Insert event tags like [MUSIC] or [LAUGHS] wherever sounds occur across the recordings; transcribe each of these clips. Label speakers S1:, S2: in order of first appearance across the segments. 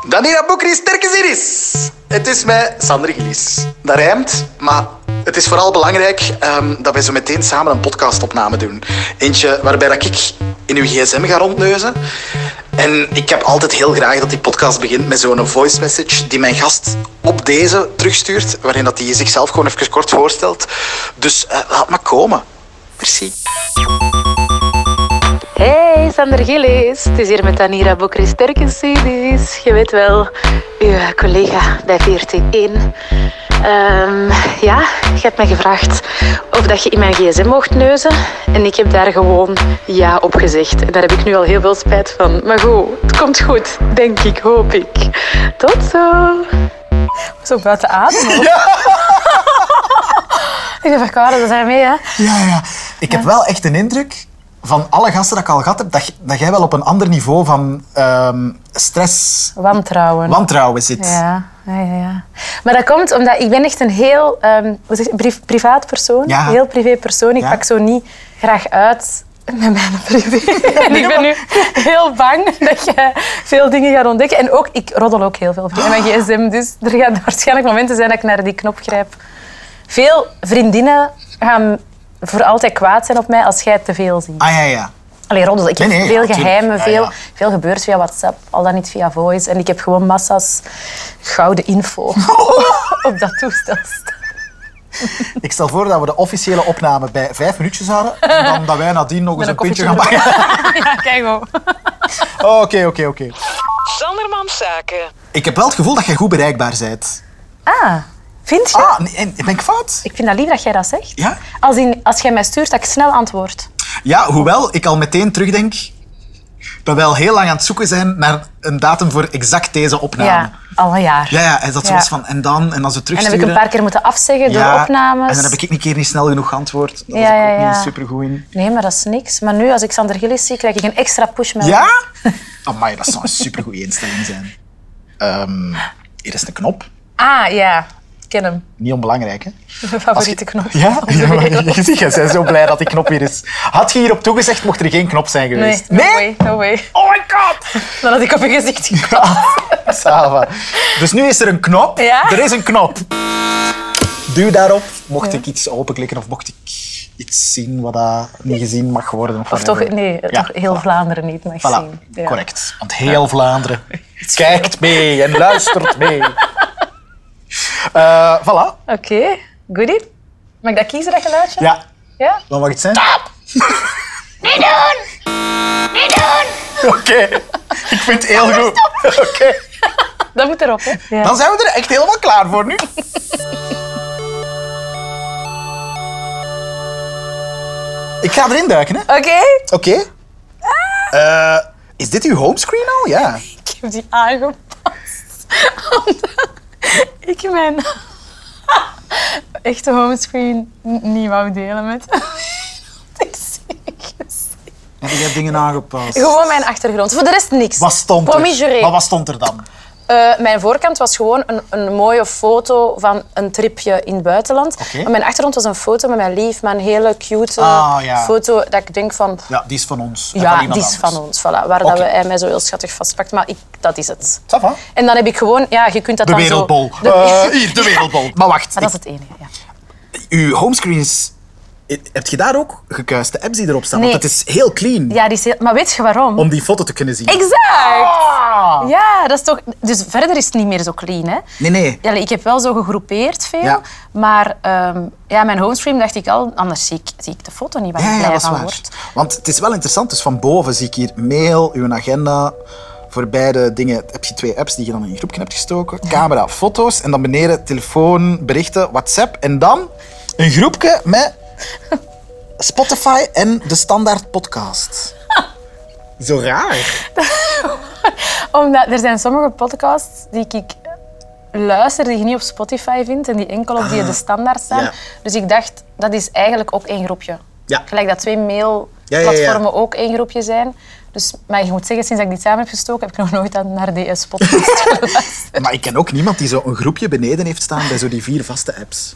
S1: Danira Boekri Sterkeziris. Het is mij Sander Gillies. Dat rijmt, maar het is vooral belangrijk ehm, dat wij zo meteen samen een podcastopname doen. Eentje waarbij dat ik in uw gsm ga rondneuzen. En ik heb altijd heel graag dat die podcast begint met zo'n voice message die mijn gast op deze terugstuurt, waarin dat hij zichzelf gewoon even kort voorstelt. Dus eh, laat maar komen. Merci.
S2: Hey, Sander Gillis. Het is hier met Anira Bokris Sterkensidis. Je weet wel, uw collega bij 141. Ehm ja, je hebt mij gevraagd of dat je in mijn gsm mocht neuzen. En ik heb daar gewoon ja op gezegd. En daar heb ik nu al heel veel spijt van. Maar goed, het komt goed. Denk ik, hoop ik. Tot zo.
S3: Zo buiten adem. hoor. Ik ben verkouden, dat zijn mee, hè?
S1: Ja, ja. Ik heb wel echt een indruk van alle gasten dat ik al gehad heb, dat, j- dat jij wel op een ander niveau van ehm, stress,
S3: Wantrouwen.
S1: wantrouwen zit.
S3: Ja, ja, ja, ja. Maar dat komt omdat ik ben echt een heel ehm, hoe zeg je, brief- privaat persoon.
S1: Ja.
S3: Heel privé persoon. Ik
S1: Ja.
S3: pak zo niet graag uit met mijn
S1: [LAUGHS]
S3: privé. en ik ben nu heel bang dat je veel dingen gaat ontdekken. En ook, ik roddel ook heel veel in mijn gsm. Dus er gaan waarschijnlijk momenten zijn dat ik naar die knop grijp. Veel vriendinnen gaan voor altijd kwaad zijn op mij als jij te veel ziet.
S1: Ah ja, ja.
S3: Allee, roddels. Ik
S1: Nee,
S3: heb
S1: nee,
S3: veel
S1: ja,
S3: geheimen,
S1: tuurlijk. Ja,
S3: veel,
S1: ja.
S3: veel gebeurt via WhatsApp, al dan niet via voice. En ik heb gewoon massa's gouden
S1: [LAUGHS]
S3: info [LAUGHS] op dat toestel staan.
S1: Ik stel voor dat we de officiële opname bij vijf minuutjes houden. En
S3: [LAUGHS]
S1: dan dat wij nadien nog eens een
S3: een
S1: pintje gaan
S3: koffietje
S1: pakken.
S3: Ja, kijk hoor.
S1: [LAUGHS] Oh, Oké, oké, oké.
S4: Sandermans Zaken.
S1: Ik heb wel het gevoel dat jij goed bereikbaar bent.
S3: Ah, vind je?
S1: Ah, nee, en- ben ik fout?
S3: Ik vind dat lief dat jij dat zegt.
S1: Ja?
S3: Als, in, als jij mij stuurt, dat ik snel antwoord.
S1: Ja, hoewel ik al meteen terugdenk dat we al heel lang aan het zoeken zijn naar een datum voor exact deze opname.
S3: Ja, al een jaar.
S1: Ja, ja, en dat ze
S3: Ja.
S1: was van en dan, en dan ze
S3: En
S1: terugsturen.
S3: heb ik een paar keer moeten afzeggen door opnames.
S1: En dan heb ik een keer niet snel genoeg geantwoord. Dat was
S3: Ja,
S1: ik ook
S3: ja, ja.
S1: niet supergoed in.
S3: Nee, maar dat is niks. Maar nu, als ik Sander Gillis zie, krijg ik een extra push met
S1: Ja? Amai, dat zou een supergoeie instelling zijn. Ehm, hier is een knop.
S3: Ah, ja. Ik ken hem.
S1: Niet onbelangrijk, hè?
S3: Mijn favoriete knop.
S1: Ja?
S3: van de
S1: ja maar
S3: wereld.
S1: je ziet, [LAUGHS] jij bent zo blij dat die knop hier is. Had je hierop toegezegd, mocht er geen knop zijn
S3: Nee,
S1: geweest.
S3: no way, no way.
S1: Oh my god!
S3: Dan had ik op je gezicht gekomen.
S1: Sava. Dus nu is er een knop.
S3: Ja?
S1: Er is een knop. Duw daarop, mocht ik iets openklikken of mocht ik iets zien wat dat niet gezien mag worden. Of,
S3: Of toch,
S1: whatever.
S3: nee,
S1: Eh,
S3: eh,
S1: Ja,
S3: toch heel
S1: voilà.
S3: Vlaanderen niet mag
S1: Voilà,
S3: zien. Ja.
S1: correct. Want heel Vlaanderen [LAUGHS] kijkt mee en luistert [LAUGHS] mee. Eh, voilà,
S3: Oké, goodie. Mag ik dat kiezen, dat geluidje?
S1: ja.
S3: Ja?
S1: Wat mag het zijn? Stop! [LAUGHS] Niet doen! Niet doen! Oké, ik vind het heel goed. Oké,
S3: Dat moet erop, hè? Ja.
S1: dan zijn we er echt helemaal klaar voor [LAUGHS] nu. Ik ga erin duiken, hè?
S3: Oké.
S1: Oké. Eh, is dit uw homescreen al? Ja.
S3: Ik heb die aangepast. [LAUGHS] Omdat ik mijn [LAUGHS] echte homescreen n- niet wou delen met [LAUGHS] Ik zie het.
S1: Heb jij dingen aangepast?
S3: Gewoon mijn achtergrond. Voor de rest niks.
S1: Wat stond er?
S3: Promisjuré.
S1: Maar wat stond er dan?
S3: Eh, mijn voorkant was gewoon een, een mooie foto van een tripje in het buitenland.
S1: Oké.
S3: Maar mijn achtergrond was een foto met mijn lief, maar een hele cute eh,
S1: Ah, ja.
S3: foto dat ik denk van... pff,
S1: Ja, die is van ons. en
S3: Ja,
S1: iemand
S3: die is
S1: anders.
S3: van ons, voilà, waar
S1: Oké.
S3: dat we, hij mij zo heel schattig vastpakt. Maar ik, dat is het.
S1: Ça va?
S3: En dan heb ik gewoon... Ja, je kunt dat
S1: De
S3: dan
S1: wereldbol.
S3: zo... De- [LAUGHS]
S1: Eh, hier, de wereldbol. Maar wacht,
S3: Maar dat is het enige, ja.
S1: ik- uw homescreen is... Heb je daar ook gekuist, de apps die erop staan?
S3: Nee.
S1: Want het is heel clean
S3: ja die is heel- maar weet je waarom?
S1: om die foto te kunnen zien.
S3: Exact!
S1: Ah.
S3: Ja, dat is toch... Dus verder is het niet meer zo clean, hè?
S1: Nee, nee.
S3: Ja, ik heb wel zo gegroepeerd veel,
S1: Ja.
S3: maar ehm, ja, mijn homestream dacht ik al, anders zie ik, zie ik de foto niet waar
S1: Ah, Ja,
S3: ik
S1: ja,
S3: blij
S1: dat is
S3: van
S1: waar.
S3: word.
S1: Want het is wel interessant. Dus van boven zie ik hier mail, uw agenda. Voor beide dingen heb je twee apps die je dan in je groepje hebt gestoken. Camera, foto's. En dan beneden telefoon, berichten, WhatsApp. En dan een groepje met Spotify en de standaard podcast. Zo raar.
S3: Omdat er zijn sommige podcasts die ik luister die je niet op Spotify vindt en die enkel op die de standaard staan.
S1: Ah. ja.
S3: Dus ik dacht, dat is eigenlijk ook één groepje.
S1: Ja.
S3: Gelijk dat twee
S1: Ja, ja, ja.
S3: mailplatformen ook één groepje zijn. Dus, maar je moet zeggen, sinds dat ik dit samen heb gestoken, heb ik nog nooit aan- naar
S1: [LAUGHS]
S3: DS podcast geluisterd.
S1: Maar ik ken ook niemand die zo'n groepje beneden heeft staan bij zo die vier vaste apps.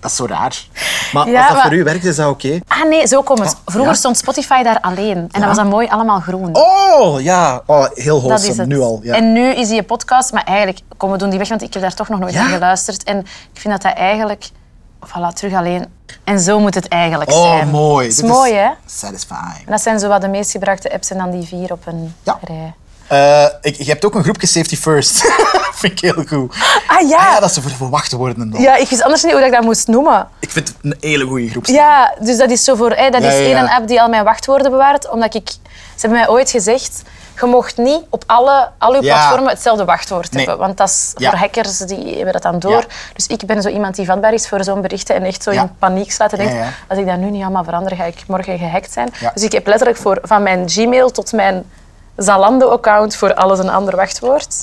S1: Dat is zo raar. Maar
S3: Ja,
S1: als dat
S3: maar-
S1: voor u werkt, is dat oké?
S3: Ah nee, zo komt het. Vroeger
S1: Oh, ja.
S3: stond Spotify daar alleen. En dat was dan mooi allemaal groen.
S1: Oh, ja. Oh, heel
S3: dat is
S1: wholesome,
S3: het.
S1: nu al. Ja.
S3: En nu is die podcast, maar eigenlijk, kom, we doen die weg, want ik heb daar toch nog nooit
S1: Ja.
S3: naar geluisterd. En ik vind dat dat eigenlijk... Voilà, terug alleen. En zo moet het eigenlijk zijn.
S1: oh, mooi.
S3: Dat is
S1: Dit
S3: mooi, hè?
S1: Satisfying.
S3: En dat zijn zo wat de meest gebruikte apps en dan die vier op een
S1: Ja.
S3: rij.
S1: Eh, ik, je hebt ook een groepje Safety First. [LAUGHS] vind ik heel goed.
S3: Ah
S1: Ah
S3: ja.
S1: ja, dat ze voor verwacht worden. en al.
S3: Ja, ik wist anders niet hoe dat ik dat moest noemen.
S1: Ik vind het een hele goede groep.
S3: Ja, dus dat is zo voor... Hè, dat
S1: Ja,
S3: is
S1: ja, ja.
S3: één een app die al mijn wachtwoorden bewaart, omdat ik... Ze hebben mij ooit gezegd, je mocht niet op alle, al uw
S1: Ja.
S3: platformen hetzelfde wachtwoord
S1: Nee.
S3: hebben. Want dat is
S1: Ja.
S3: voor hackers, die hebben dat dan door.
S1: Ja.
S3: Dus ik ben zo iemand die vatbaar is voor zo'n berichten en echt zo
S1: Ja.
S3: in paniek slaat en denkt,
S1: Ja, ja.
S3: als ik dat nu niet allemaal verander, ga ik morgen gehackt zijn.
S1: Ja.
S3: Dus ik heb letterlijk voor, van mijn Gmail tot mijn Zalando-account voor alles een ander wachtwoord.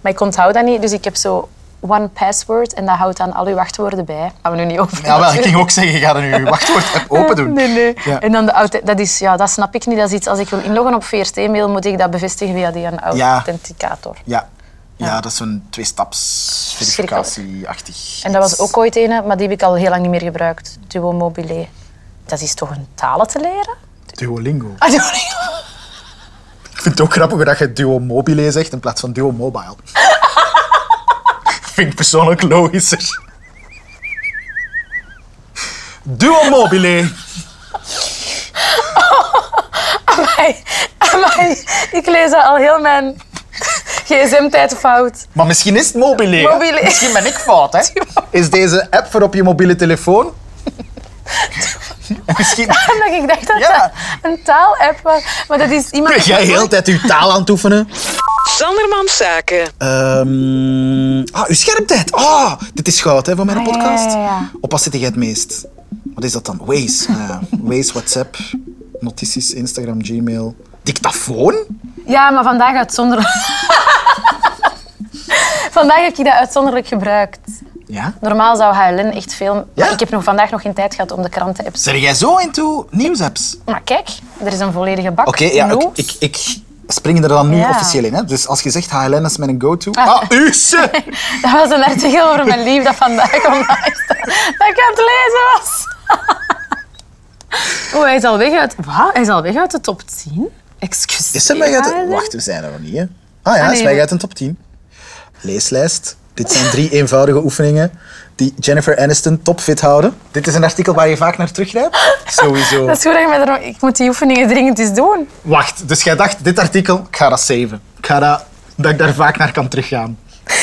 S3: Maar ik onthoud dat niet, dus ik heb zo one password en dat houdt dan al uw wachtwoorden bij. Gaan we nu niet over.
S1: Ja, wel, ik ging ook zeggen, je gaat nu je
S3: [LAUGHS]
S1: wachtwoord-app open doen.
S3: Nee, nee.
S1: Ja.
S3: En dan de auth- dat is, ja, dat snap ik niet. Dat is iets, als ik wil inloggen op VRT-mail, moet ik dat bevestigen via die een
S1: Ja.
S3: authenticator.
S1: Ja. Ja, dat is zo'n twee-staps verificatie-achtig.
S3: En dat was ook ooit een, maar die heb ik al heel lang niet meer gebruikt. Duo Mobile. Dat is toch een talen te leren? [LAUGHS]
S1: Duolingo.
S3: Ah, Duolingo.
S1: Ik vind het ook grappig dat je Duo Mobile zegt in plaats van Duo Mobile.
S3: [LAUGHS]
S1: vind ik persoonlijk logischer. Duo Mobile.
S3: Amai. Amai. Ik lees dat al heel mijn [LAUGHS] gsm-tijd fout. [LAUGHS]
S1: Maar misschien is het mobile. hè?
S3: Mobile.
S1: Misschien ben ik fout,
S3: [LAUGHS]
S1: hè? Is deze app voor op je mobiele telefoon? En misschien
S3: Omdat ik dacht dat
S1: Ja.
S3: dat een taal-app was. Maar dat is iemand...
S1: ben jij heel de tijd uw taal aan het oefenen.
S4: Sandermans Zaken.
S1: Ehm, ah, uw schermtijd. Ah, dit is goud hè, van mijn
S3: Ah, ja,
S1: podcast.
S3: ja, ja, ja.
S1: Op wat zit jij het meest? Wat is dat dan? Waze. Ah, ja. Waze, WhatsApp, notities, Instagram, Gmail. Dictafoon?
S3: Ja, maar vandaag uitzonderlijk... [LAUGHS] vandaag heb ik dat uitzonderlijk gebruikt.
S1: Ja.
S3: Normaal zou HLN echt veel... maar
S1: Ja?
S3: ik heb nog vandaag nog geen tijd gehad om de kranten-apps...
S1: Zijn jij zo into nieuwsapps?
S3: Maar kijk, er is een volledige bak.
S1: Oké, ja, ik,
S3: Nieuws.
S1: ik, ik spring er dan nu
S3: Ja.
S1: officieel in. Hè? Dus als je zegt HLN is mijn go-to. Ah, Use!
S3: Dat was een artikel over mijn lief dat vandaag [LAUGHS] online staat. Dat ik aan het lezen was. [LAUGHS] Oh, hij is al weg uit... Wat? Hij is al weg uit de top 10? Excuseer.
S1: Is er weg uit de...
S3: HLN?
S1: Wacht, we zijn er nog niet, hè? Ah ja, is
S3: Ah, nee,
S1: weg
S3: nee.
S1: uit een top 10. Leeslijst. Dit zijn drie eenvoudige oefeningen die Jennifer Aniston topfit houden. Dit is een artikel waar je vaak naar teruggrijpt. Sowieso.
S3: [LAUGHS] Dat is goed dat je mij daarom... Ik moet die oefeningen dringend eens doen.
S1: Wacht, dus jij dacht, dit artikel, ik ga dat saven. Ik ga dat... Dat ik daar vaak naar kan teruggaan.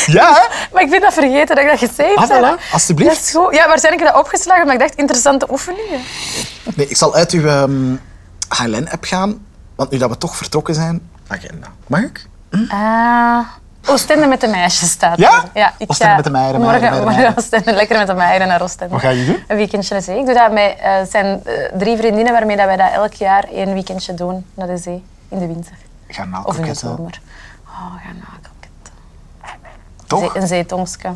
S1: Ja, hè?
S3: Maar ik ben dat vergeten dat ik dat gesaved
S1: Ah, voilà.
S3: heb.
S1: Alsjeblieft.
S3: Dat is goed. Ja, waarschijnlijk heb ik dat opgeslagen, maar ik dacht, interessante oefeningen.
S1: Nee, ik zal uit uw ehm, HLN-app gaan, want nu dat we toch vertrokken zijn... Agenda. Mag ik?
S3: Ah. Oostende met de meisjes staat
S1: Ja?
S3: er. ja ik
S1: Oostende
S3: ga
S1: met de meiden, meiden,
S3: Morgen,
S1: meiden,
S3: morgen
S1: meiden.
S3: Oostende, lekker met de meiden naar Oostende.
S1: Wat ga je doen?
S3: Een weekendje naar zee. Ik doe dat met eh, het zijn eh, drie vriendinnen waarmee dat wij dat elk jaar één weekendje doen naar de zee in de winter.
S1: Ga
S3: Of in de
S1: naalkoketten.
S3: zomer. Oh, ga nou koketten.
S1: Toch? Oh.
S3: Zee- Een zeetongske.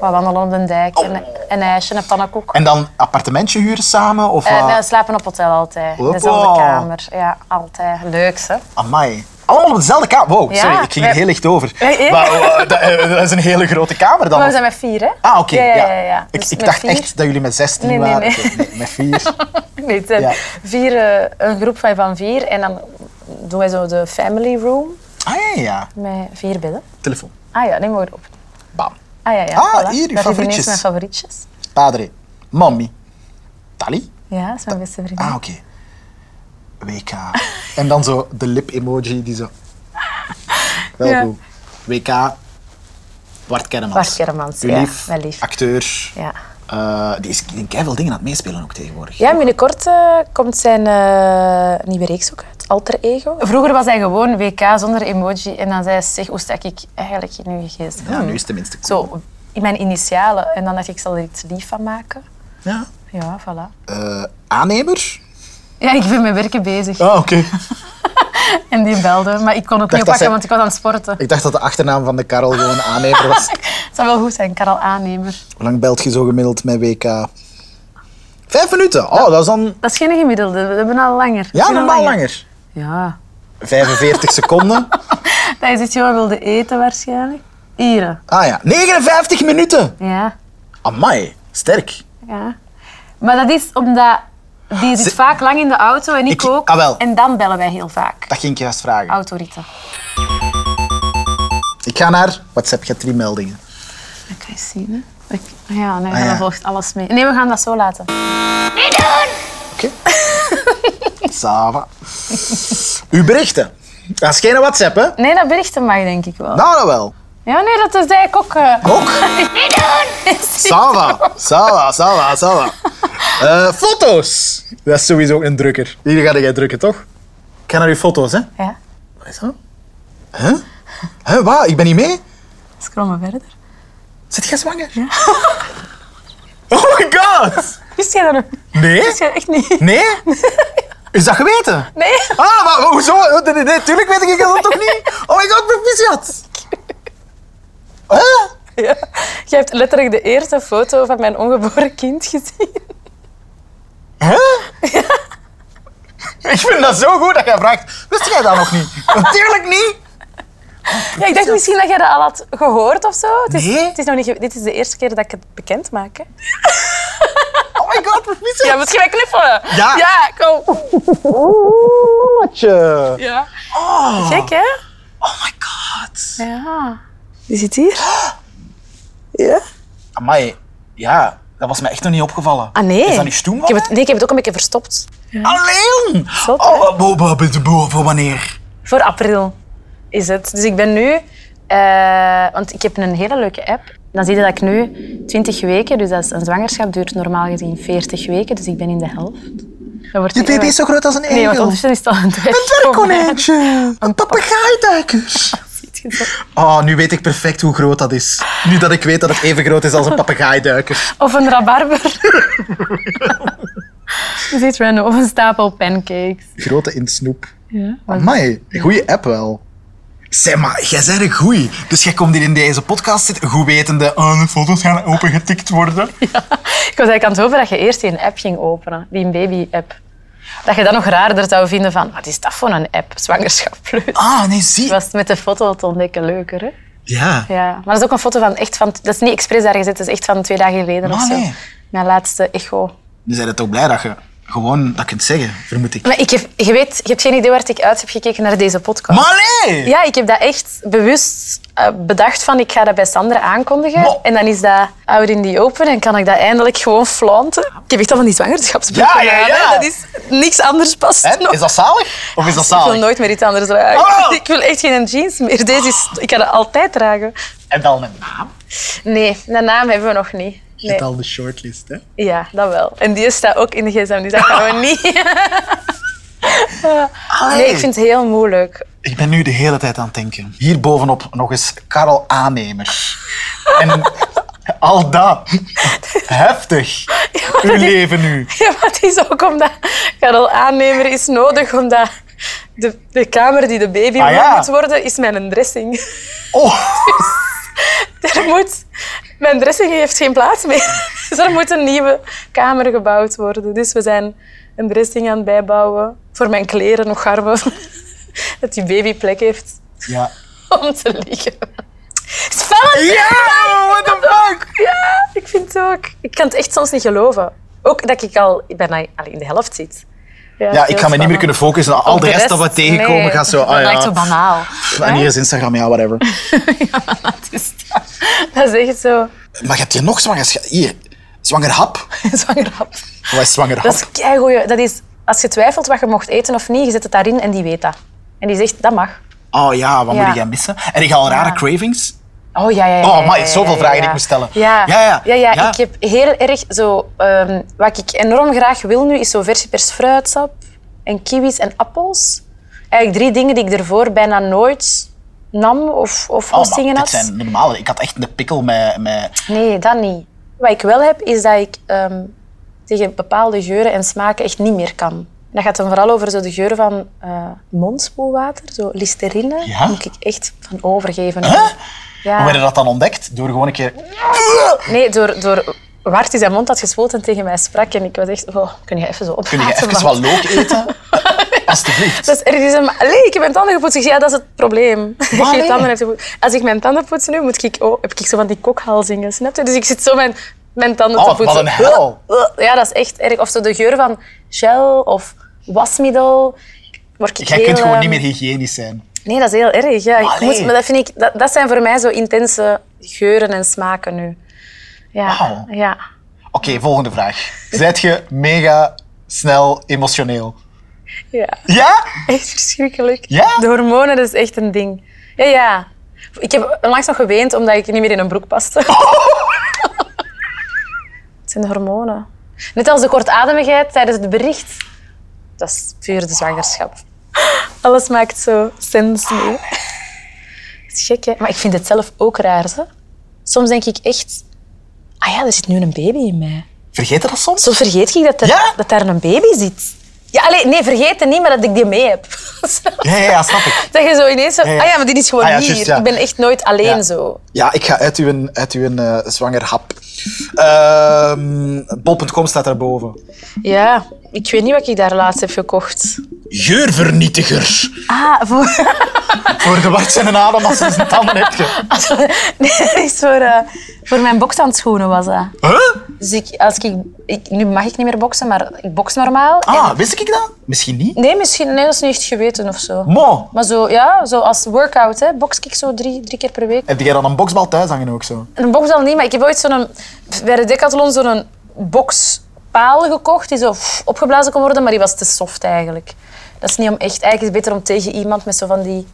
S3: Wat wandelen op de dijk, een, een ijsje, een pannenkoek.
S1: En dan appartementje huren samen? Of,
S3: Eh,
S1: wat?
S3: nee, slapen op hotel altijd. In
S1: Hoppa.
S3: dezelfde kamer. Ja, altijd. Leuks, hè?
S1: Amai. Allemaal op dezelfde kamer. Wow,
S3: Ja,
S1: sorry, ik ging
S3: wij-
S1: heel licht over.
S3: Wij- ja.
S1: Maar, eh, dat, eh, dat is een hele grote kamer dan.
S3: Maar Oh, we
S1: of-
S3: zijn met vier, hè?
S1: Ah, oké.
S3: Ja, ja,
S1: ja.
S3: ja. ja.
S1: Ik,
S3: Dus
S1: ik
S3: met
S1: dacht
S3: vier.
S1: echt dat jullie met 16
S3: Nee, nee,
S1: waren.
S3: nee.
S1: Oké, met
S3: [LAUGHS]
S1: vier.
S3: Nee, het zijn
S1: Ja.
S3: vier, eh, een groep van, van vier. En dan doen wij zo de family room
S1: Ah ja, ja.
S3: met vier bedden.
S1: Telefoon.
S3: Ah ja, neem maar op.
S1: Bam.
S3: Ah ja, ja.
S1: Ah, hier, uw
S3: Daar zitten ineens
S1: favorietjes.
S3: mijn favorietjes.
S1: Padre. Mommy. Tali.
S3: Ja, dat is mijn beste vriendin.
S1: Ah, oké. WK. en dan zo de lip-emoji die zo... Wel
S3: Ja.
S1: goed. WK. Bart Kermans.
S3: Bart Kermans,
S1: Uw
S3: ja,
S1: lief,
S3: mijn lief.
S1: Acteur.
S3: Ja.
S1: Eh, die is in keiveel dingen aan het meespelen ook tegenwoordig.
S3: Ja, binnenkort eh, komt zijn eh, nieuwe reeks ook uit, Alter Ego. Vroeger was hij gewoon WK zonder emoji. En dan zei hij, zeg, hoe stak ik eigenlijk in uw geest?
S1: Ja, nu is het tenminste cool.
S3: Zo, in mijn initialen. En dan dacht ik, ik zal er iets lief van maken.
S1: Ja.
S3: Ja, voilà.
S1: Eh, aannemer?
S3: Ja, ik ben met werken bezig.
S1: Ah, oké.
S3: En die belde, maar ik kon ook
S1: dat
S3: niet oppakken,
S1: zij-
S3: want ik was aan het sporten.
S1: Ik dacht dat de achternaam van de Karel gewoon aannemer
S3: [LAUGHS]
S1: was.
S3: Het zou wel goed zijn, Karel Aannemer.
S1: Hoe lang belt je zo gemiddeld met WK? Vijf minuten? Oh, dat is dan...
S3: Dat is geen gemiddelde, we hebben al langer.
S1: Ja,
S3: Veel
S1: normaal langer.
S3: Ja.
S1: 45 seconden.
S3: Dat is iets jongen wilde eten waarschijnlijk. Ieren.
S1: Ah ja, 59 minuten.
S3: Ja.
S1: Amai, sterk.
S3: Ja. Maar dat is omdat die zit
S1: Ze-
S3: vaak lang in de auto en ik,
S1: Ik-
S3: ook.
S1: ah, wel.
S3: En dan bellen wij heel vaak.
S1: Dat ging ik juist vragen.
S3: Autoritten.
S1: Ik ga naar WhatsApp, je hebt drie meldingen.
S3: Dat kan je zien, hè. Ja, nee,
S1: Ah, ja.
S3: dan volgt alles mee. Nee, we gaan dat zo laten.
S1: [LAUGHS] Oké. Sava. Uw berichten. Dat is geen WhatsApp, hè?
S3: Nee, dat berichten mag denk ik wel.
S1: Nou, dat wel.
S3: Ja, nee, dat is eigenlijk ook... eh, [LAUGHS]
S1: Ook. Sava. Sava, Sava, Sava. Eh, foto's. Dat is sowieso ook een drukker. Hier ga jij drukken, toch? Ik ga naar uw foto's, hè?
S3: Ja,
S1: Wat is dat? Huh? Huh, wat? Ik ben niet mee?
S3: scroll maar verder.
S1: Zit jij zwanger? Oh my god!
S3: Wist jij dat nog?
S1: Nee?
S3: [LAUGHS] Wist jij echt niet?
S1: Nee? Is dat geweten?
S3: Nee.
S1: Ah, maar hoezo? Nee, nee, nee, tuurlijk weet ik dat toch niet? Oh my god, proficiat! Huh?
S3: [LAUGHS] Ja. Jij hebt letterlijk de eerste foto van mijn ongeboren kind gezien.
S1: Huh? Ik vind dat zo goed dat jij vraagt, wist jij dat nog niet? Natuurlijk niet!
S3: Ja, ik dacht misschien dat jij dat al had gehoord of zo. Het is,
S1: Nee.
S3: het is nog niet, ge- dit is de eerste keer dat ik het bekend maak. Hè.
S1: Oh my god, proficiat!
S3: Ja, misschien wij knuffelen.
S1: Ja.
S3: Ja, kom.
S1: Oeh,
S3: Ja.
S1: oh.
S3: Kijk, hè.
S1: oh my god.
S3: Ja. Die zit hier.
S1: Amai, ja, dat was me echt nog niet opgevallen.
S3: Ah, nee.
S1: Is dat niet stoem?
S3: Ik heb het, nee, ik heb het ook een beetje verstopt.
S1: Alleen!
S3: Zot, hè?
S1: oh, bo- bo- bo- bo- voor wanneer?
S3: Voor april is het. Dus ik ben nu... eh, want ik heb een hele leuke app. Dan zie je dat ik nu 20 weken... Dus dat is, een zwangerschap duurt normaal gezien 40 weken. Dus ik ben in de helft. Dan wordt
S1: Je
S3: die-
S1: baby is zo groot als een
S3: Nee, want
S1: egel.
S3: ondertussen is het al een dwerg.
S1: Een dwergkonijntje. Een
S3: [LAUGHS]
S1: papegaaiduiker. dus. Oh, nu weet ik perfect hoe groot dat is. Nu dat ik weet dat het even groot is als een papegaaiduiker.
S3: Of een rabarber. Je ziet random. Of een stapel pancakes.
S1: Grote in snoep.
S3: Ja.
S1: Amai, goeie app wel. Zeg maar, jij bent een goeie. Dus jij komt hier in deze podcast zitten, goed wetende... Oh, de foto's gaan opengetikt
S3: [LAUGHS]
S1: worden.
S3: Ik was eigenlijk aan het hopen dat je eerst die een app ging openen. Die een baby-app. Dat je dat nog raarder zou vinden van... Wat is dat voor een app? Zwangerschap plus.
S1: Ah, nee, zie.
S3: Was het met de foto te ontdekken leuker, hè?
S1: Ja.
S3: Ja, maar dat is ook een foto van echt van... Dat is niet expres daar gezet, dat is echt van twee dagen geleden
S1: Maar
S3: of zo.
S1: nee.
S3: Mijn laatste echo.
S1: Nu zijn we toch blij dat je gewoon dat kunt zeggen, vermoed ik.
S3: Maar ik heb, je weet, je hebt geen idee waar ik uit heb gekeken naar deze podcast.
S1: Maar nee!
S3: Ja, ik heb dat echt bewust eh, bedacht van ik ga dat bij Sandra aankondigen.
S1: Maar-
S3: En dan is dat out in the open en kan ik dat eindelijk gewoon flaunten. Ik heb echt al van die zwangerschapsboeken
S1: Ja, ja,
S3: gedaan, hè.
S1: ja.
S3: Dat is niks anders past
S1: Hè?
S3: nog.
S1: Is dat zalig? Of is dat
S3: Ik wil
S1: zalig?
S3: nooit meer iets anders dragen.
S1: Oh!
S3: [LAUGHS] Ik wil echt geen jeans meer. Deze is, ik ga dat altijd dragen.
S1: En dan een naam.
S3: Nee, de naam hebben we nog niet.
S1: Je
S3: Nee.
S1: hebt al de shortlist, hè?
S3: Ja, dat wel. En die staat ook in de gsm, dus dat gaan
S1: [LAUGHS]
S3: we niet.
S1: Ah,
S3: Nee, ik vind het heel moeilijk.
S1: ik ben nu de hele tijd aan het denken. Hierbovenop nog eens Karel Aannemer. En [LAUGHS] al dat. Heftig. Uw leven nu.
S3: [LAUGHS] Ja, maar het is ook omdat Karel aannemer is nodig, omdat de, de kamer die de baby
S1: Ah, ja.
S3: moet worden, is mijn dressing. [LAUGHS]
S1: Oh,
S3: Er moet, mijn dressing heeft geen plaats meer. [LAUGHS] Dus er moet een nieuwe kamer gebouwd worden. Dus we zijn een dressing aan het bijbouwen. Voor mijn kleren nog garmen. [LAUGHS] Dat die baby plek heeft
S1: ja.
S3: [LAUGHS] om te liggen. Het is spannend!
S1: Ja, what the fuck?
S3: Ja, ik vind het ook. Ik kan het echt soms niet geloven. Ook dat ik al bijna al in de helft zit.
S1: Ja, ik ga me niet meer kunnen focussen. Al
S3: Op
S1: de rest dat we tegenkomen
S3: nee,
S1: gaat zo...
S3: Dat
S1: Ah,
S3: lijkt zo
S1: ja.
S3: banaal.
S1: En
S3: [LAUGHS]
S1: hier is Instagram, ja, whatever.
S3: Het is dat. Dat is echt [LAUGHS] zo.
S1: Maar je hebt hier nog zwangerschap. Hier, zwangerhap.
S3: Zwangerschap.
S1: Wat is zwangerhap?
S3: Dat is keigoeie. Dat is als je twijfelt wat je mocht eten of niet, je zet het daarin en die weet dat. En die zegt, dat mag.
S1: Oh ja, wat
S3: Ja.
S1: moet jij missen? En ik ga al rare cravings.
S3: Oh ja, ja, ja.
S1: Oh,
S3: ja,
S1: maar
S3: ja,
S1: zoveel
S3: ja,
S1: vragen
S3: ja.
S1: die ik moet stellen.
S3: Ja.
S1: Ja, ja, ja.
S3: Ik heb heel erg zo. ehm, wat ik enorm graag wil nu is zo verse pers fruitsap en kiwis en appels. Eigenlijk drie dingen die ik ervoor bijna nooit nam of, of
S1: Oh, maar
S3: hostingen
S1: dit
S3: had.
S1: zijn normale. Ik had echt een pikkel met...
S3: Ah.
S1: met...
S3: Nee, dat niet. Wat ik wel heb, is dat ik ehm, tegen bepaalde geuren en smaken echt niet meer kan. En dat gaat dan vooral over zo de geur van eh mondspoelwater, zo listerine.
S1: Ja?
S3: Daar moet ik echt van overgeven. Ja.
S1: Hoe werd dat dan ontdekt? Door gewoon een keer...
S3: Nee, door, door Wart die zijn mond had gespoeld en tegen mij sprak. En ik was echt, oh, kun je even zo
S1: Kun je
S3: oppraten?
S1: even
S3: want-
S1: wat look
S3: [LAUGHS]
S1: eten? Alsjeblieft.
S3: Dus er is een... Allee, ik heb mijn tanden gepoetst. Ik zeg, ja, dat is het probleem. [LAUGHS]
S1: Maar
S3: Als je
S1: nee.
S3: tanden hebt gepoetst. Als ik mijn tanden poets nu, moet ik, oh, heb ik zo van die kokhalzingen, snap je? Dus ik zit zo mijn mijn tanden te
S1: Oh,
S3: poetsen.
S1: wat een hel.
S3: Ja, dat is echt erg. Of zo de geur van gel of wasmiddel. Word ik
S1: Jij
S3: heel,
S1: kunt gewoon
S3: ehm,
S1: niet meer hygiënisch zijn.
S3: Nee, dat is heel erg. Ja. Ik
S1: Allee.
S3: moet, maar dat, vind ik, dat, dat zijn voor mij zo intense geuren en smaken nu. Ja.
S1: Wauw.
S3: ja.
S1: Oké, volgende vraag. Zijt je mega snel emotioneel?
S3: ja.
S1: Ja?
S3: [LAUGHS] Echt verschrikkelijk.
S1: Ja?
S3: De hormonen, dat is echt een ding. Ja, ja. Ik heb langs nog geweend omdat ik niet meer in een broek paste. [LAUGHS] het zijn de hormonen. Net als de kortademigheid tijdens het bericht. Dat is puur de zwangerschap. Alles maakt zo sens mee. Het is gek, hè? Maar ik vind het zelf ook raar, hè? Soms denk ik echt... Ah ja, er zit nu een baby in mij.
S1: Vergeet je dat soms?
S3: Soms vergeet ik dat, er,
S1: Ja?
S3: dat daar een baby zit. Ja, allee, nee, vergeten niet, maar dat ik die mee heb. [LAUGHS]
S1: Ja, ja, ja, snap ik.
S3: Dat je zo ineens zo...
S1: Ja, ja.
S3: Ah ja, maar die is gewoon
S1: Ah ja,
S3: hier.
S1: juist, ja.
S3: Ik ben echt nooit alleen
S1: Ja.
S3: zo.
S1: Ja, ik ga uit uw, uit uw eh, zwanger hap. Ehm, Bol.com staat daarboven.
S3: Ja, ik weet niet wat ik daar laatst heb gekocht.
S1: Geurvernietiger.
S3: Ah, voor... [LAUGHS]
S1: Voor de wart zijn een adem als ze zijn tanden hebt. ge-
S3: Nee, dat is voor, eh, voor mijn bokstandschoenen was dat.
S1: Huh?
S3: Dus ik, als ik, ik... Nu mag ik niet meer boksen, maar ik boks normaal.
S1: Ah, wist ik dat? Misschien niet.
S3: En- nee, misschien... Nee, dat is niet echt geweten of zo.
S1: Mo,
S3: Maar zo, ja, zo als workout, hè, boks ik zo drie, drie keer per week.
S1: heb jij dan een boksbal thuis hangen ook zo?
S3: Een boksbal niet, maar ik heb ooit zo'n, bij de Decathlon zo'n bokspaal gekocht die zo pff, opgeblazen kon worden, maar die was te soft eigenlijk. Dat is niet om echt, eigenlijk is het beter om tegen iemand met zo van die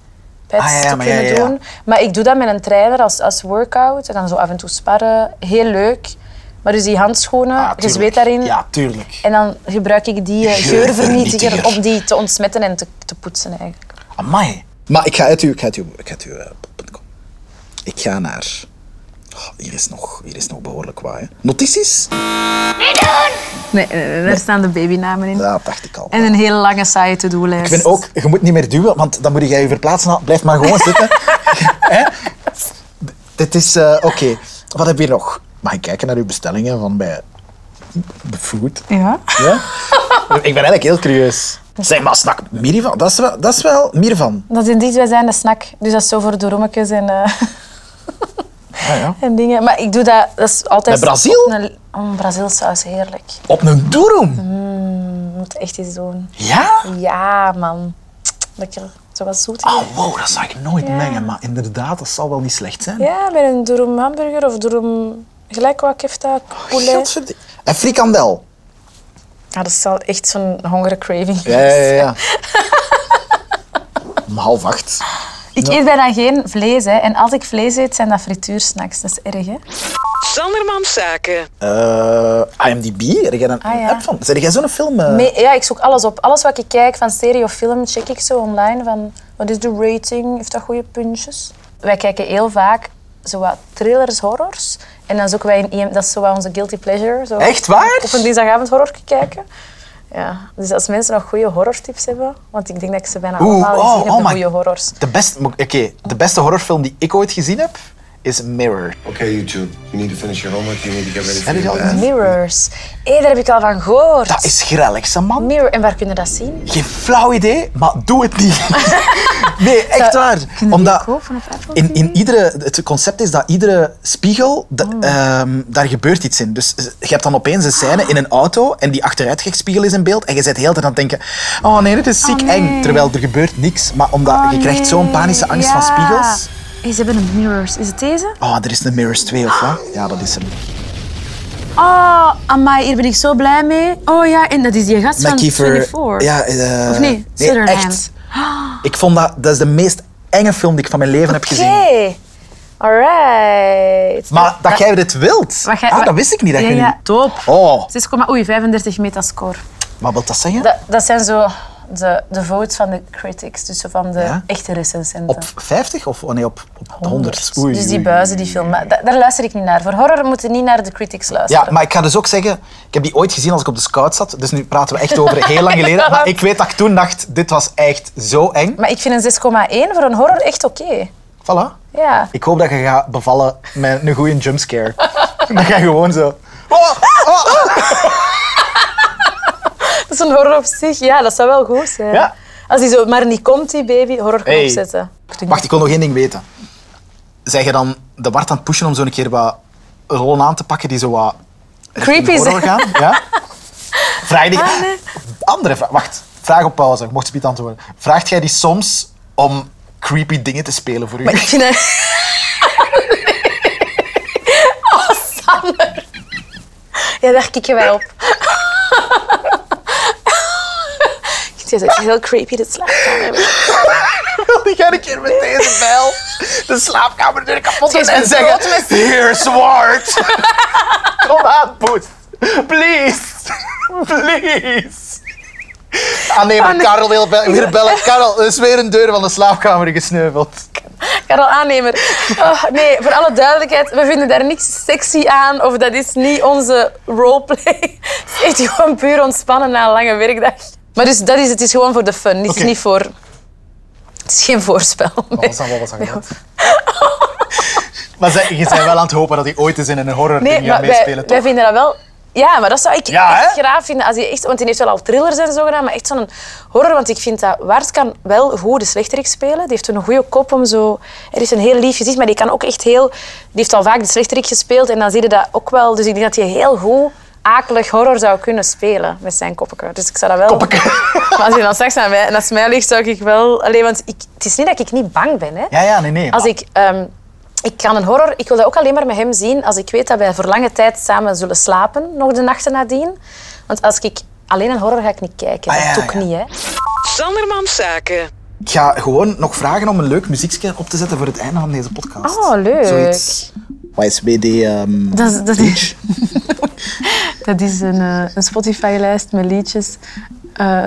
S3: pads
S1: Ah, ja, ja,
S3: te
S1: maar ja,
S3: kunnen
S1: ja, ja.
S3: doen. Maar ik doe dat met een trainer als, als workout en dan zo af en toe sparren. Heel leuk. Maar dus die handschoenen,
S1: Ah,
S3: je
S1: tuurlijk.
S3: zweet daarin.
S1: Ja, tuurlijk.
S3: En dan gebruik ik die
S1: [LAUGHS]
S3: eh,
S1: Geurvernietiger.
S3: geurvernietiger om die te ontsmetten en te, te poetsen eigenlijk.
S1: Amai. Maar ik ga uit uw... Ik ga uit uw... Ik ga uit uw... eh, bol.com. Ik ga naar... Oh, hier, is nog, hier is nog behoorlijk wat, hè. Notities?
S3: Nee, eh, daar staan de babynamen in.
S1: Ja, dacht ik al.
S3: En een hele lange saaie to-do-lijst.
S1: Ik vind ook, je moet niet meer duwen, want dan moet jij je verplaatsen. nou, Blijf maar gewoon
S3: [LAUGHS]
S1: zitten. Hè? D- Dit is... eh, Oké, wat heb je nog? Mag ik kijken naar uw bestellingen van bij... The food?
S3: Ja.
S1: Ja? ik ben eigenlijk heel curieus. Zeg maar, snak Mirvan. Dat is wel, dat is wel Mirvan.
S3: Dat is indies, wij zijn de snack. Dus dat is zo voor de rommetjes en, eh, [LAUGHS]
S1: Ja, ja.
S3: en dingen. Maar ik doe dat, dat is altijd...
S1: Met Brazil?
S3: op Een, oh, Brazilsaus, heerlijk.
S1: Op een doeroem.
S3: Je moet echt iets doen.
S1: Ja?
S3: Ja, man. Lekker. Zo wat zoet.
S1: Oh, wow, dat zou ik nooit mengen. Maar inderdaad, dat zal wel niet slecht zijn.
S3: Ja, met een durum hamburger of durum... Gelijk wat kefta,
S1: Oh,
S3: poulet.
S1: Godverd- En frikandel.
S3: Ja, Ah, dat is wel echt zo'n hongercraving.
S1: Ja, ja, ja. ja. Om half acht.
S3: [LAUGHS] Ik eet bijna geen vlees. Hè. En als ik vlees eet, zijn dat frituursnacks. Dat is erg, hè?
S4: Sandermans Zaken.
S1: Eh, IMDb, heb jij een
S3: Ah, ja.
S1: app van? Zeg jij zo'n film? eh?
S3: Me- ja, ik zoek alles op. Alles wat ik kijk, van serie of film, check ik zo online. Van, wat is de rating? Heeft dat goede puntjes? Wij kijken heel vaak zo wat thrillers, horrors. En dan zoeken wij in IM... Dat is zo wat onze guilty pleasure. Zo
S1: Echt waar?
S3: Op een dinsdagavond horror kijken. Ja, dus als mensen nog goede horrortips hebben... Want ik denk dat ik ze bijna
S1: Oeh,
S3: allemaal
S1: oh,
S3: gezien heb,
S1: oh
S3: de
S1: my-
S3: goede horrors.
S1: De, best, mo- oké, de beste horrorfilm die ik ooit gezien heb, is Mirror.
S5: Okay, you two, you need to finish your homework. You need to get ready for
S1: Heb je
S5: your
S1: dat
S5: bath.
S3: Mirrors. Hé, daar heb ik al van gehoord.
S1: Dat is grellig, hè, man.
S3: Mirror. En waar kunnen we dat zien?
S1: Geen flauw idee, maar doe het
S3: [LAUGHS]
S1: niet. nee, echt waar. Omdat in, in iedere, het concept is dat iedere spiegel, da-
S3: Oh.
S1: ehm, daar gebeurt iets in. Dus je hebt dan opeens een scène in een auto en die achteruitgekspiegel is in beeld. En je zit heel de tijd aan het denken, oh nee, dit is ziek eng. Terwijl er gebeurt niks. Maar omdat
S3: Oh,
S1: je krijgt zo'n panische angst van spiegels.
S3: Hé, ze hebben een Mirrors. Is het deze?
S1: Oh, er is een Mirrors 2 of wat? Ja, dat is hem.
S3: Oh, amai, hier ben ik zo blij mee. Oh ja, en dat is die gast
S1: Met
S3: van
S1: Kiefer.
S3: 24.
S1: Ja, eh,
S3: Of nee, Sutherland. [GASPS]
S1: echt. Ik vond dat, dat is de meest enge film die ik van mijn leven heb gezien.
S3: Oké, alright.
S1: Maar dat jij dit wilt?
S3: Wat jij-
S1: ah,
S3: wat-
S1: dat wist ik niet. Dat
S3: Ja,
S1: jij
S3: ja,
S1: niet-
S3: top.
S1: Oh,
S3: 6, oei, 35 metascore.
S1: wat wil dat zeggen?
S3: Dat, dat zijn zo de, de votes van de critics, dus zo van de
S1: Ja?
S3: echte recensenten.
S1: Op 50 of oh nee, op, op 100? Oei,
S3: Dus die
S1: oei.
S3: buizen, die film. Maar da- daar luister ik niet naar. Voor horror moeten niet naar de critics luisteren.
S1: Ja, maar ik ga dus ook zeggen, ik heb die ooit gezien als ik op de scout zat. Dus nu praten we echt over heel lang
S3: [LAUGHS]
S1: geleden. Maar ik weet dat ik toen dacht, dit was echt zo eng.
S3: Maar ik vind een 6,1 voor een horror echt oké.
S1: Voilà.
S3: Ja.
S1: Ik hoop dat je gaat bevallen met een goede jumpscare. [LAUGHS] dat je gewoon zo... Oh, oh, oh.
S3: Dat is een horror op zich. Ja, dat zou wel goed zijn.
S1: Ja.
S3: Als die zo maar niet komt, die baby, horrorknop
S1: Hey.
S3: zetten. Ik denk-
S1: Wacht, ik wil nog één ding weten. Zijn je dan de wart aan het pushen om zo'n keer wat rollen aan te pakken die zo wat
S3: Creepy
S1: horror
S3: zijn. Ah,
S1: gaan.
S3: [LAUGHS]
S1: Ja? Vraag die... Andere vraag. Wacht, vraag op pauze. Ik mocht ze niet antwoorden. Vraagt jij die soms om creepy dingen te spelen voor u?
S3: Maar ik [LAUGHS] vind dat... Oh, Sander. Ja, daar kikken wij [LAUGHS] op. Het is echt heel creepy, dit slaapkamer.
S1: [LAUGHS] Die ga ik hier met deze bel de slaapkamer deur kapot
S3: Het is een grote
S1: Hier, zwart! [LAUGHS] Kom aan, poes. Please. [LAUGHS] Please. Ah nee, maar Karel wil be- weer bellen. Karel, er is weer een deur van de slaapkamer gesneuveld.
S3: Karel Aannemer. Oh, nee, voor alle duidelijkheid, we vinden daar niks sexy aan of dat is niet onze roleplay. Het is echt gewoon puur ontspannen na een lange werkdag. Maar dus dat is, het is gewoon voor de fun, het is
S1: Oké.
S3: niet voor... Het is geen voorspel.
S1: Wat was dat? Wat was dat?
S3: [LAUGHS]
S1: gedaan? Maar zij- je bent wel aan het hopen dat hij ooit eens in een horror
S3: Nee,
S1: ding gaat
S3: maar wij,
S1: meespelen,
S3: wij
S1: toch?
S3: vinden dat wel... Ja, maar dat zou ik
S1: Ja,
S3: echt
S1: hè?
S3: graag vinden. Als hij echt, want die heeft wel al thrillers en zo gedaan, maar echt zo'n horror. Want ik vind dat Waard kan wel goed de slechterik spelen. Die heeft een goede kop om zo... Er is een heel lief gezicht, maar die kan ook echt heel... Die heeft al vaak de slechterik gespeeld en dan zie je dat ook wel. Dus ik denk dat hij heel goed akelig horror zou kunnen spelen met zijn koppeke. Dus ik zou dat wel...
S1: Koppeke.
S3: [LAUGHS] Maar als hij dan straks aan mij, naast mij ligt, zou ik wel... Alleen, want ik, het is niet dat ik niet bang ben, hè.
S1: Ja, ja, nee, nee.
S3: Als ik, ehm, ik kan een horror, ik wil dat ook alleen maar met hem zien als ik weet dat wij voor lange tijd samen zullen slapen, nog de nachten nadien. Want als ik alleen een horror ga ik niet kijken,
S1: Ah, ja,
S3: dat doe ik
S1: ja.
S3: niet. Hè.
S4: Sandermans Zaken.
S1: Ik ga gewoon nog vragen om een leuk muziekje op te zetten voor het einde van deze podcast.
S3: Oh, leuk.
S1: Zoiets. YSBD... ehm
S3: Dat is, dat is, dat is een, eh, een Spotify-lijst met liedjes eh,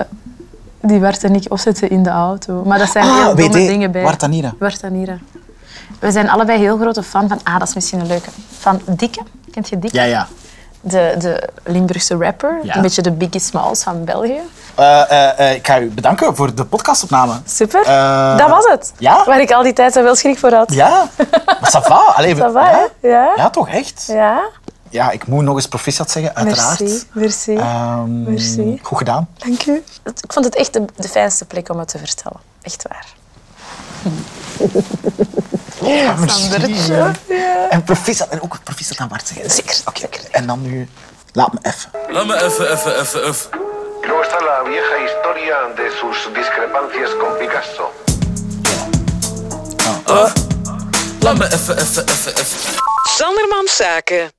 S3: die Bart en ik opzetten in de auto. Maar dat zijn heel
S1: Ah,
S3: domme
S1: WD,
S3: dingen bij.
S1: Wartanira.
S3: Bart en Ira. We zijn allebei heel grote fan van... Ah, dat is misschien een leuke. Van Dikke. Kent je Dikke?
S1: Ja, ja.
S3: de, de Limburgse rapper.
S1: Ja.
S3: Een beetje de Biggie Smalls van België.
S1: Eh, eh, eh, ik ga u bedanken voor de podcastopname.
S3: Super.
S1: Eh,
S3: dat was het.
S1: ja?
S3: Waar ik al die tijd zo wel schrik voor had. [LAUGHS]
S1: Ja, maar ça va. Allee,
S3: Dat was,
S1: ja?
S3: hè? Ja?
S1: ja, toch echt?
S3: Ja?
S1: Ja, ik moet nog eens proficiat zeggen, uiteraard.
S3: Merci. Merci.
S1: Ehm,
S3: Merci.
S1: Goed gedaan.
S3: Dank u. Het- Ik vond het echt de, de fijnste plek om het te vertellen. Echt waar.
S1: Merci. En proficiat, en ook proficiat aan Bart zeggen.
S3: Zeker,
S1: Oké, en dan nu... Laat me even.
S6: Laat me even, even, even, even.
S7: Luego está la vieja historia de sus discrepancias con Picasso.
S6: Laat me even, even, even, even.
S4: Sandermans Zaken.